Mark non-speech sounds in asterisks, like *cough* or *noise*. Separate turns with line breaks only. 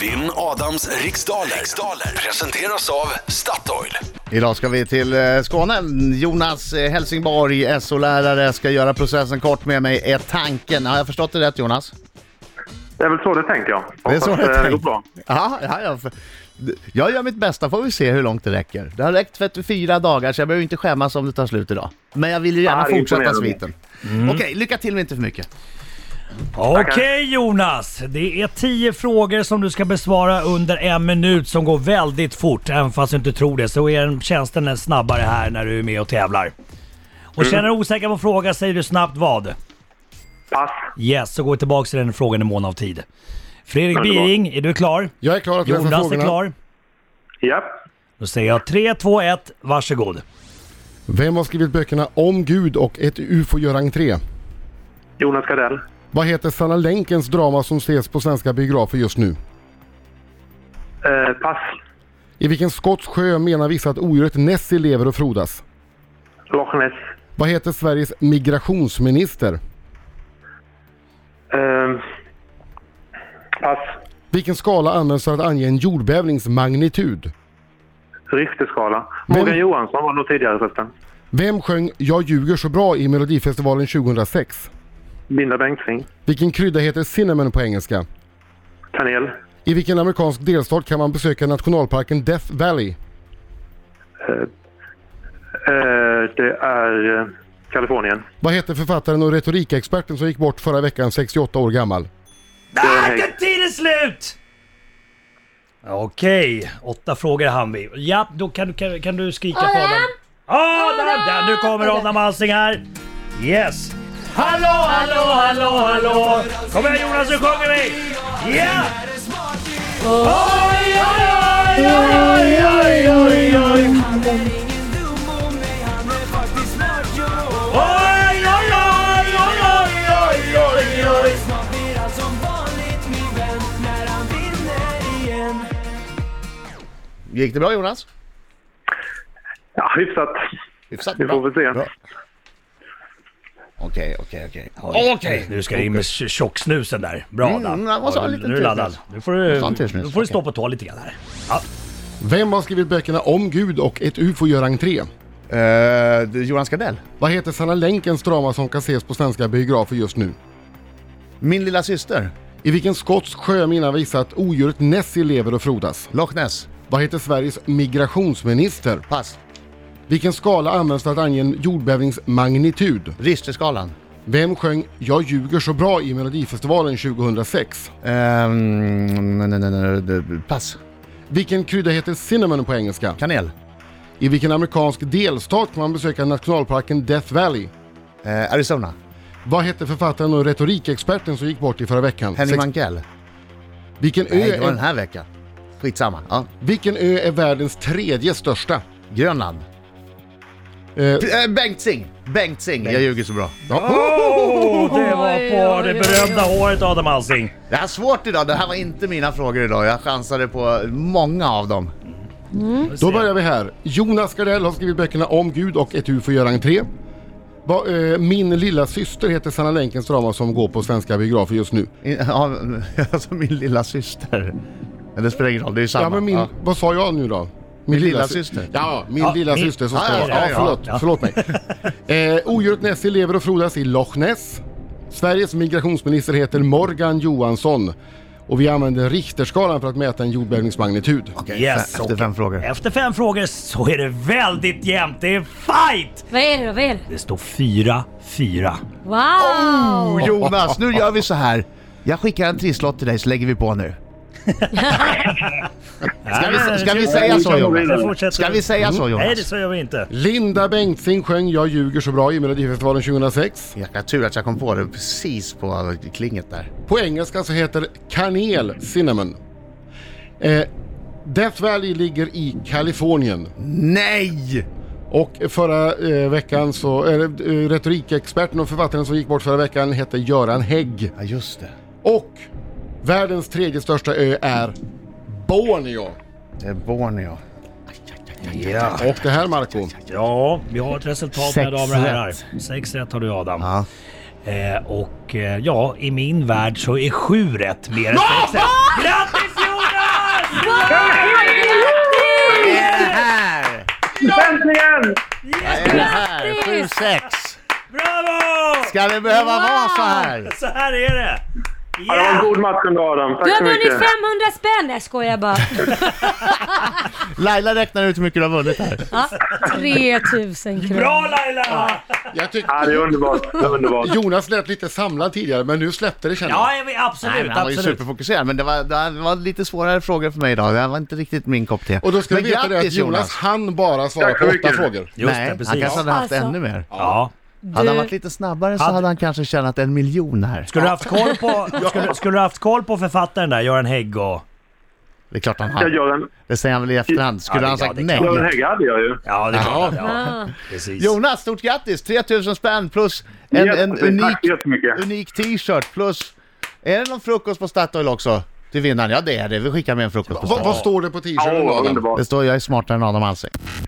Vinn Adams riksdaler. riksdaler presenteras av Statoil.
Idag ska vi till eh, Skåne. Jonas eh, Helsingborg, SO-lärare, ska göra processen kort med mig, är tanken. Har jag förstått det rätt Jonas?
Det är väl så det tänker jag.
Det är så jag
Eh, det går
tänkt.
bra.
Ja, ja, ja. för- Jag gör mitt bästa, får vi se hur långt det räcker. Det har räckt 34 dagar, så jag behöver inte skämmas om det tar slut idag. Men jag vill ju gärna
Ja, det är
fortsätta
imponerande.
sviten. Okej, lycka till men inte för mycket.
Okej Jonas, det är 10 frågor som du ska besvara under en minut som går väldigt fort. Även fast du inte tror det så är den- tjänsten är snabbare här när du är med och tävlar. Och
Mm.
känner du osäker på en fråga säger du snabbt vad?
Pass.
Yes, så går vi tillbaka till den frågan i mån av tid. Fredrik
Underbart.
Biring, är du klar?
Jag är klar att läsa
Jonas är
frågorna.
klar.
Japp.
Då säger jag 3, 2, 1, varsågod.
Vem har skrivit böckerna Om Gud och Ett UFO gör entré?
Jonas Gardell.
Vad heter Sanna Länkens drama som ses på svenska biografer just nu?
Eh, pass.
I vilken skotsk sjö menar vissa att odjuret Nessie lever och frodas?
Loch Ness.
Vad heter Sveriges migrationsminister?
Eh, pass.
Vilken skala används för att ange en jordbävnings magnitud?
Richterskala. Morgan
Vem-
Johansson var nog tidigare förresten.
Vem sjöng “Jag ljuger så bra” i Melodifestivalen 2006?
Linda Bengtzing.
Vilken krydda heter cinnamon på engelska?
Kanel.
I vilken amerikansk delstat kan man besöka nationalparken Death Valley?
Eh, det är eh, Kalifornien.
Vad heter författaren och retorikexperten som gick bort förra veckan 68 år gammal?
Nej, det är tiden slut! Okej, åtta frågor hann vi. Ja, då kan, du- kan, kan du skrika på
Adam!
den. Adam! Ah, Där, nu kommer Adam Alsing här. Yes! Hallå, hallå, hallå, hallå! Kom igen Jonas, nu sjunger vi! Ja! Oj, oj, oj, oj, oj, oj, oj! Oj, oj, oj, oj, oj, oj, oj, oj!
Gick det bra Jonas?
Ja, hyfsat.
Hyfsat
Vi
bra.
får väl se.
Bra. Okej, okej, okej.
Okej! Nu ska jag in med tj- tjocksnusen där. Bra
Mm,
Adam.
jag måste ha
Ja,
lite
nu är du
till
laddad.
snus.
Nu får
ha en till
du,
snus,
nu får du stå
okej.
på tå lite grann här. Ja.
Vem har skrivit böckerna Om Gud och Ett UFO gör entré?
Eh, det är Jonas Gardell.
Vad heter Sanna Länkens drama som kan ses på svenska biografer just nu?
Min lilla syster,
I vilken skotsk sjö menar vissa att odjuret Nessie lever och frodas?
Loch Ness.
Vad heter Sveriges migrationsminister?
Pass.
Vilken skala används för att ange en jordbävningsmagnitud?
Richterskalan.
Vem sjöng “Jag ljuger så bra” i Melodifestivalen 2006?
Ehm, nej, nej, nej, nej, pass.
Vilken krydda heter cinnamon på engelska?
Kanel.
I vilken amerikansk delstat kan man besöka nationalparken Death Valley?
Eh, Arizona.
Vad hette författaren och retorikexperten som gick bort i förra veckan?
Henry
Sex-
Mankell.
vilken, ö
Nej, det var den
är,
här veckan. Skitsamma. Ja.
vilken ö är världens tredje största?
Grönland.
Eh,
Eh, Bengtzing! Bengtzing! Jag ljuger så bra.
Åh, det var
Oj,
på
oj,
det
oj,
berömda håret Adam Alsing.
Det här är svårt idag. Det här var inte mina frågor idag. Jag chansade på många av dem.
Då börjar vi här. Jonas Gardell har skrivit böckerna Om Gud och Ett UFO gör entré. Va, eh, Min lilla syster heter Sanna Länkens drama som går på svenska biografer just nu.
I- *laughs* Ja, alltså min lilla syster. Men det spelar ingen roll, det är ju samma.
Ja, men min, Vad sa jag nu då? Min,
lilla
sy-
syster.
Ja, min
Ja,
lilla
min-
syster som
Ja,
ska
ja,
vara...
ja,
Ja,
ja,
förlåt,
ja.
förlåt mig. Eh, odjuret Nessie lever och frodas i Loch Ness. Sveriges migrationsminister heter Morgan Johansson. Och vi använder Richterskalan för att mäta en jordbävningsmagnitud.
Okej,
Yes,
fe- efter
okej.
fem frågor.
Efter fem frågor så är det väldigt jämnt. Det är fight!
Vad är det då? Vad är det?
Det står 4-4.
Wow!
Oh, Jonas, nu gör vi så här. Jag skickar en trisslott till dig så lägger vi på nu. Ska vi, ska vi säga så Jonas? Ska vi säga så
Mm. Nej,
Jonas?
det säger vi inte.
Linda Bengtzing sjöng Jag ljuger så bra i Melodifestivalen 2006.
Jäkla tur att jag kom på det precis på klinget där.
På engelska så heter kanel cinnamon. Eh, Death Valley ligger i Kalifornien.
Nej!
Och förra eh, veckan så, eh, retorikexperten och författaren som gick bort förra veckan hette Göran Hägg.
Ja, just det.
Och världens tredje största ö är Borneo.
Det är Borneo.
Ja.
Och det här Marco,
ja, vi har ett resultat mina
Sex
damer och herrar.
rätt.
6 rätt har du Adam.
Ja.
Eh, och eh, ja, i min värld så är 7 rätt mer än 6 rätt. Grattis Jonas!
sex.
Bravo!
Ska det behöva
Wow!
vara så här?
Så här är det.
Ja, det var en
Yeah!
god match ändå Adam.
Du
Tack
har
så
vunnit
mycket.
500 spänn! Nej, jag skojar bara.
Laila räknar ut hur mycket du har vunnit här.
Ja, 3000 kronor.
Bra Laila!
Jag tyckte
Ja, det är underbart. Det är underbart.
Jonas lät lite samlad tidigare, men nu släppte det känner jag.
Ja, jag vet,
Nej,
absolut,
men han var ju
absolut.
superfokuserad, men det var, det här var lite svårare frågor för mig idag. Det här var inte riktigt min kopp te.
Och då ska
men
vi veta det att
grattis,
Jonas han bara svara
Tack
på
så
åtta
mycket.
frågor.
Just
Nej,
det, precis.
han kanske hade haft
Alltså.
ännu mer.
Ja.
Hade han
Du-
varit lite snabbare så
Hade-
hade han kanske tjänat en miljon här.
Skulle du haft koll på, skulle, skulle du haft koll på författaren där, Göran Hägg och...
Det är klart han
Jag
hade.
gör en,
Det säger han väl i efterhand. Skulle
Ja,
han
det- ja,
sagt
det är
nej?
gör en hägg hade jag ju.
Ja, det är klart.
Ah.
Ja, precis.
Jonas, stort grattis! 3000 spänn plus en, en
Jättefint.
unik,
Tack så jättemycket.
unik t-shirt plus... Är det någon frukost på Statoil också? Till vinnaren? Ja det är det. Vi skickar med en frukost på
Vad,
Statoil.
vad står det på
Ja,
t-shirten? Adam?
underbart.
Det står jag är smartare än Adam Alsing.